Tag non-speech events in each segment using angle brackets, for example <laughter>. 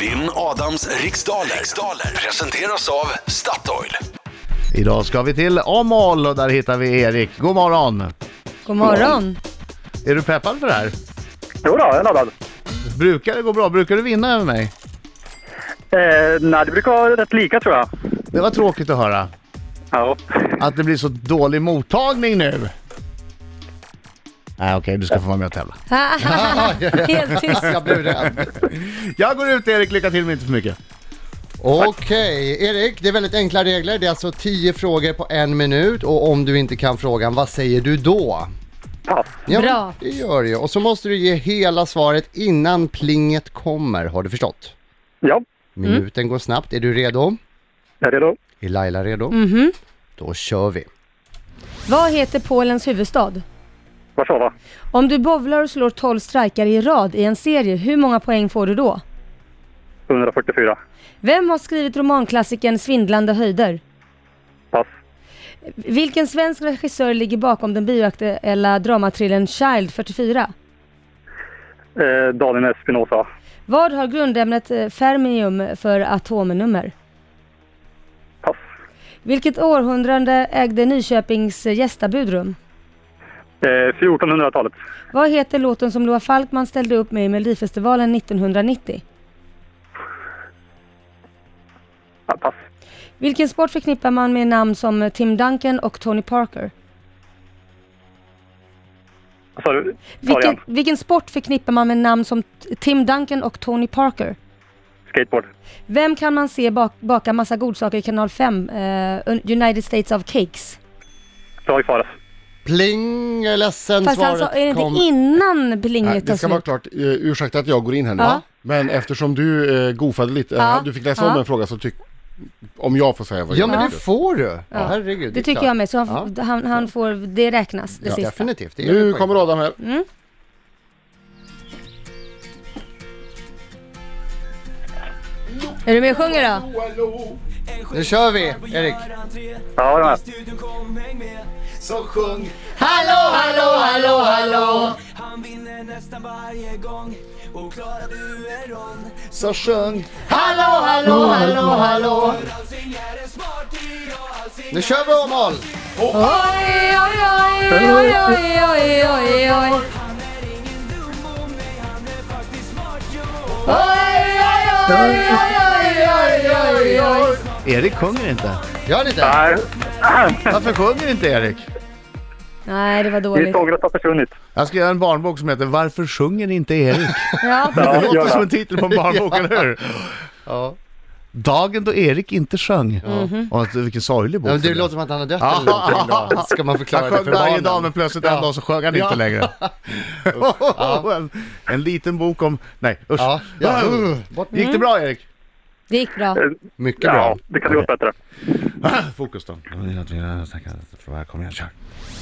Vinn Adams riksdaler. riksdaler presenteras av Statoil. Idag ska vi till Åmål och där hittar vi Erik. God morgon! God morgon. <laughs> Är du peppad för det här? Jo då, jag är laddad. Brukar det gå bra? Brukar du vinna över mig? Eh, nej, det brukar vara rätt lika tror jag. Det var tråkigt att höra. Ja. Att det blir så dålig mottagning nu. Nej okej, du ska få vara med och tävla. <laughs> Helt tyst. Jag blev rädd. Jag går ut Erik, lycka till men inte för mycket. Okej, Erik, det är väldigt enkla regler. Det är alltså 10 frågor på en minut och om du inte kan frågan, vad säger du då? Pass. Ja, Bra. Det gör du ju. Och så måste du ge hela svaret innan plinget kommer, har du förstått? Ja, Mm. Minuten går snabbt. Är du redo? jag är redo. Är Laila redo? Mhm. Då kör vi. Vad heter Polens huvudstad? Warszawa. Om du bowlar och slår 12 strikar i rad i en serie, hur många poäng får du då? 144. Vem har skrivit romanklassikern Svindlande höjder? Pass. Vilken svensk regissör ligger bakom den bioaktuella dramathrillern Child 44? Eh, Daniel Espinosa. Vad har grundämnet eh, fermium för atomnummer? Pass. Vilket århundrade ägde Nyköpings eh, gästabudrum? Eh, 1400-talet. Vad heter låten som Loa Falkman ställde upp med i Melodifestivalen 1990? Ah, pass. Vilken sport förknippar man med namn som eh, Tim Duncan och Tony Parker? Vad sa du? Ta Vilken, igen. vilken sport förknippar man med namn som t- Tim Duncan och Tony Parker? Skateboard. Vem kan man se bak, baka massa godsaker i kanal 5, eh, Un- United States of Cakes? Dra i fares. Pling, jag är ledsen, Fast svaret alltså, är det inte kom. innan Nej, plinget tar det ska vara slut? klart. Eh, Ursäkta att jag går in här nu. Ja. Men eftersom du eh, goofade lite, eh, Ja. du fick läsa Ja. om en fråga så tyck... Om jag får säga vad Ja, jag men det tycker. får du. Herregud, Det är tycker klart. jag med, så han, f- han, han får, det räknas, det Ja, sista. definitivt. Det är Nu poäng. kommer Adam här. Är du med och sjunger då? Nu kör vi, Erik. Ja, den här. Så sjung, Hallå, hallå, hallå, hallå! han vinner nästan varje gång Och klarar du en rond Så sjung Hallå, hallå, hallå, hallå Alsing är en smarting och Alsing Nu kör vi om håll! Oj, oj, oj, oj, oj, oj, oj, oj. Han är ingen dum om mig, han är faktiskt smart jo Erik sjunger inte. Gör lite! Nej, Varför sjunger inte Erik? Nej, det var mitt dåligt. ångest har försvunnit. Jag ska göra en barnbok som heter Varför sjunger inte <laughs> Erik? Ja, Det Ja, gör låter det. som en titel på en barnbok, eller hur? Ja. Mhm. Dagen då Erik inte sjöng. Och att, vilken sorglig bok Ja, men det blev. låter som att han har dött eller <laughs> någonting då. Ska man förklara Han det sjöng för varje dag barnen? men plötsligt en dag så sjöng han inte längre. en, en liten bok om... Nej usch. Ja, ja. Ah, Bort med- Gick det bra Erik? det gick bra. Mycket bra. Ja, det kan gått bättre. Fokus då. Kom igen, kör.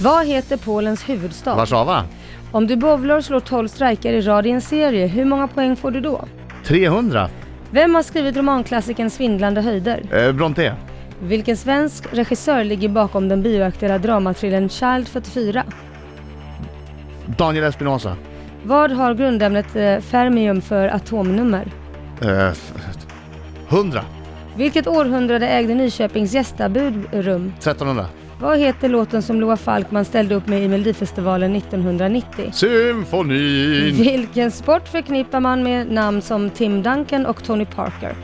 Vad heter Polens huvudstad? Warszawa. Om du bowlar och slår 12 strikar i rad i en serie, hur många poäng får du då? 300. Vem har skrivit romanklassikern Svindlande höjder? Eh, Bronte. Vilken svensk regissör ligger bakom den bioaktuella dramathrillern Child 44? Daniel Espinosa. Vad har grundämnet eh, fermium för atomnummer? Eh, f- 100. Vilket århundrade ägde Nyköpings gästabudrum? 1300. Vad heter låten som Loa Falkman ställde upp med i Melodifestivalen 1990? Symfonin. Vilken sport förknippar man med namn som Tim Duncan och Tony Parker?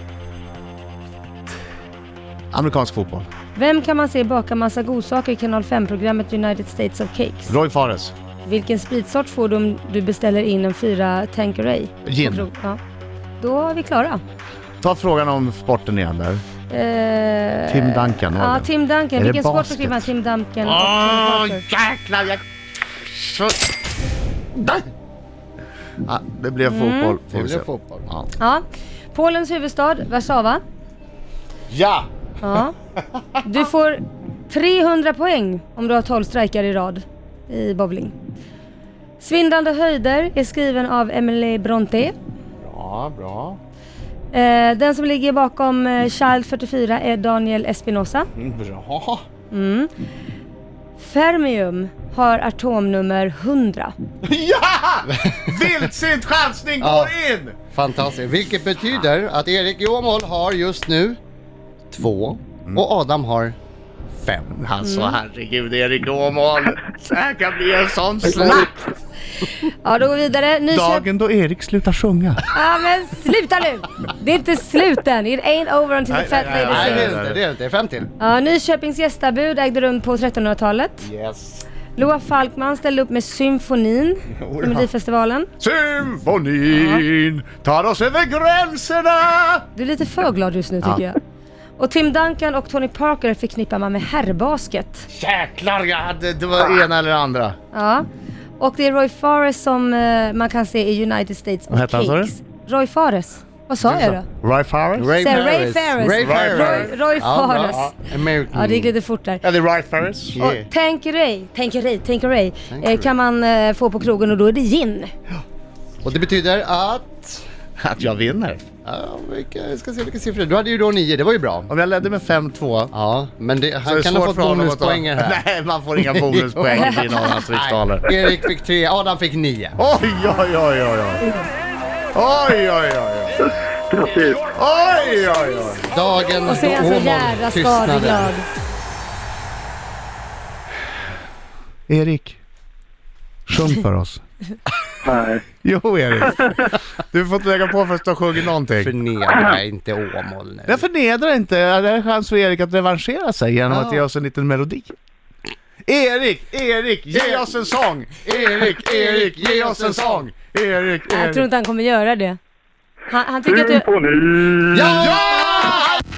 Amerikansk fotboll. Vem kan man se baka massa godsaker i kanal 5-programmet United States of Cakes? Roy Fares. Vilken spritsort får du om du beställer in en fyra Tanqueray? Gin. Ja. Då är vi klara. Ta frågan om sporten igen där. Eh, Tim Duncan var Ja, det. Tim Duncan. det Vilken sport basket? Ah, förknippar man Tim Duncan och Tony Åh, Parker? jäklar! Jag... Så... Där! Ja, Ah, det blev Mm. fotboll. får Det vi se. blev fotboll. Ja. Ja. Polens huvudstad, Warszawa. Ja! Ja. Du får 300 poäng om du har 12 strejkar i rad i bowling. Svindlande höjder är skriven av Emily Brontë. Bra, bra. Eh, Den som ligger bakom eh, Child 44 är Daniel Espinosa. Mm, Mm. Bra! Fermium har atomnummer 100. ja! Vildsint chansning går Ja. in! Fantastiskt. Vilket betyder att Erik Jåmål har just nu två och Adam har fem. Mm. Alltså Mm. herregud Erik Åmål. Det här kan bli en sån slakt. Ja, då går vi vidare. Nyköping... Dagen då Erik slutar sjunga. Ja, men sluta nu! Det är inte slut än. It ain't over until the fat lady <laughs> Nej, det är sings. det inte. Det är det inte. Fem till. Ja, Nyköpings gästabud ägde rum på 1300-talet. Yes. Loa Falkman ställde upp med symfonin i Melodifestivalen. Symfonin tar oss över gränserna. Du är lite för glad just nu tycker jag. Och Tim Duncan och Tony Parker förknippar man med herrbasket. Jäklar, jag hade, det var ena eller andra. Ja. Och det är Roy Fares som eh, man kan se i United States Vad of heter han, sa du? Kings. Roy Fares. Vad sa jag då? Ray Fares? Ray Say Ray Fares. Fares. Ray Fares. Roy, Roy Ja, bra. Fares. Ja, American. Ja, det gick lite fort där. Ja, det är Ray Fares. Yeah. Och Tanqueray, Tanqueray, Tanqueray eh, kan man eh, få på krogen och då är det gin. Och det betyder att... <laughs> Att jag vinner. Ja, vilka, jag ska se vilka siffror. Du hade ju då nio, det var ju bra. Om jag ledde med 5-2. Ja, men det, så är han det kan ha svårt fått för honom att ta- bonuspoänger här. <laughs> Nej, man får inga bonuspoäng i någon av <laughs> hans riksdaler. Erik fick tre, Adam fick nio. Oj, oj, oj, oj, oj. Oj, oj, oj, oj. Grattis! Oj, oj, oj. Dagen Och så är han så jävla skadeglad. Erik, sjung för oss. <laughs> Nej. Jo, Erik. Du får inte lägga på förrän du har sjungit någonting. Förnedra inte Åmål nu. Jag förnedrar inte. Det är en chans för Erik att revanschera sig genom att ge oss en liten melodi. Erik, Erik, ge oss en sång! Erik, Erik, ge oss en sång! Erik, Jag tror Erik. inte han kommer göra det. Han, han tycker att du... Symfoni! Ja!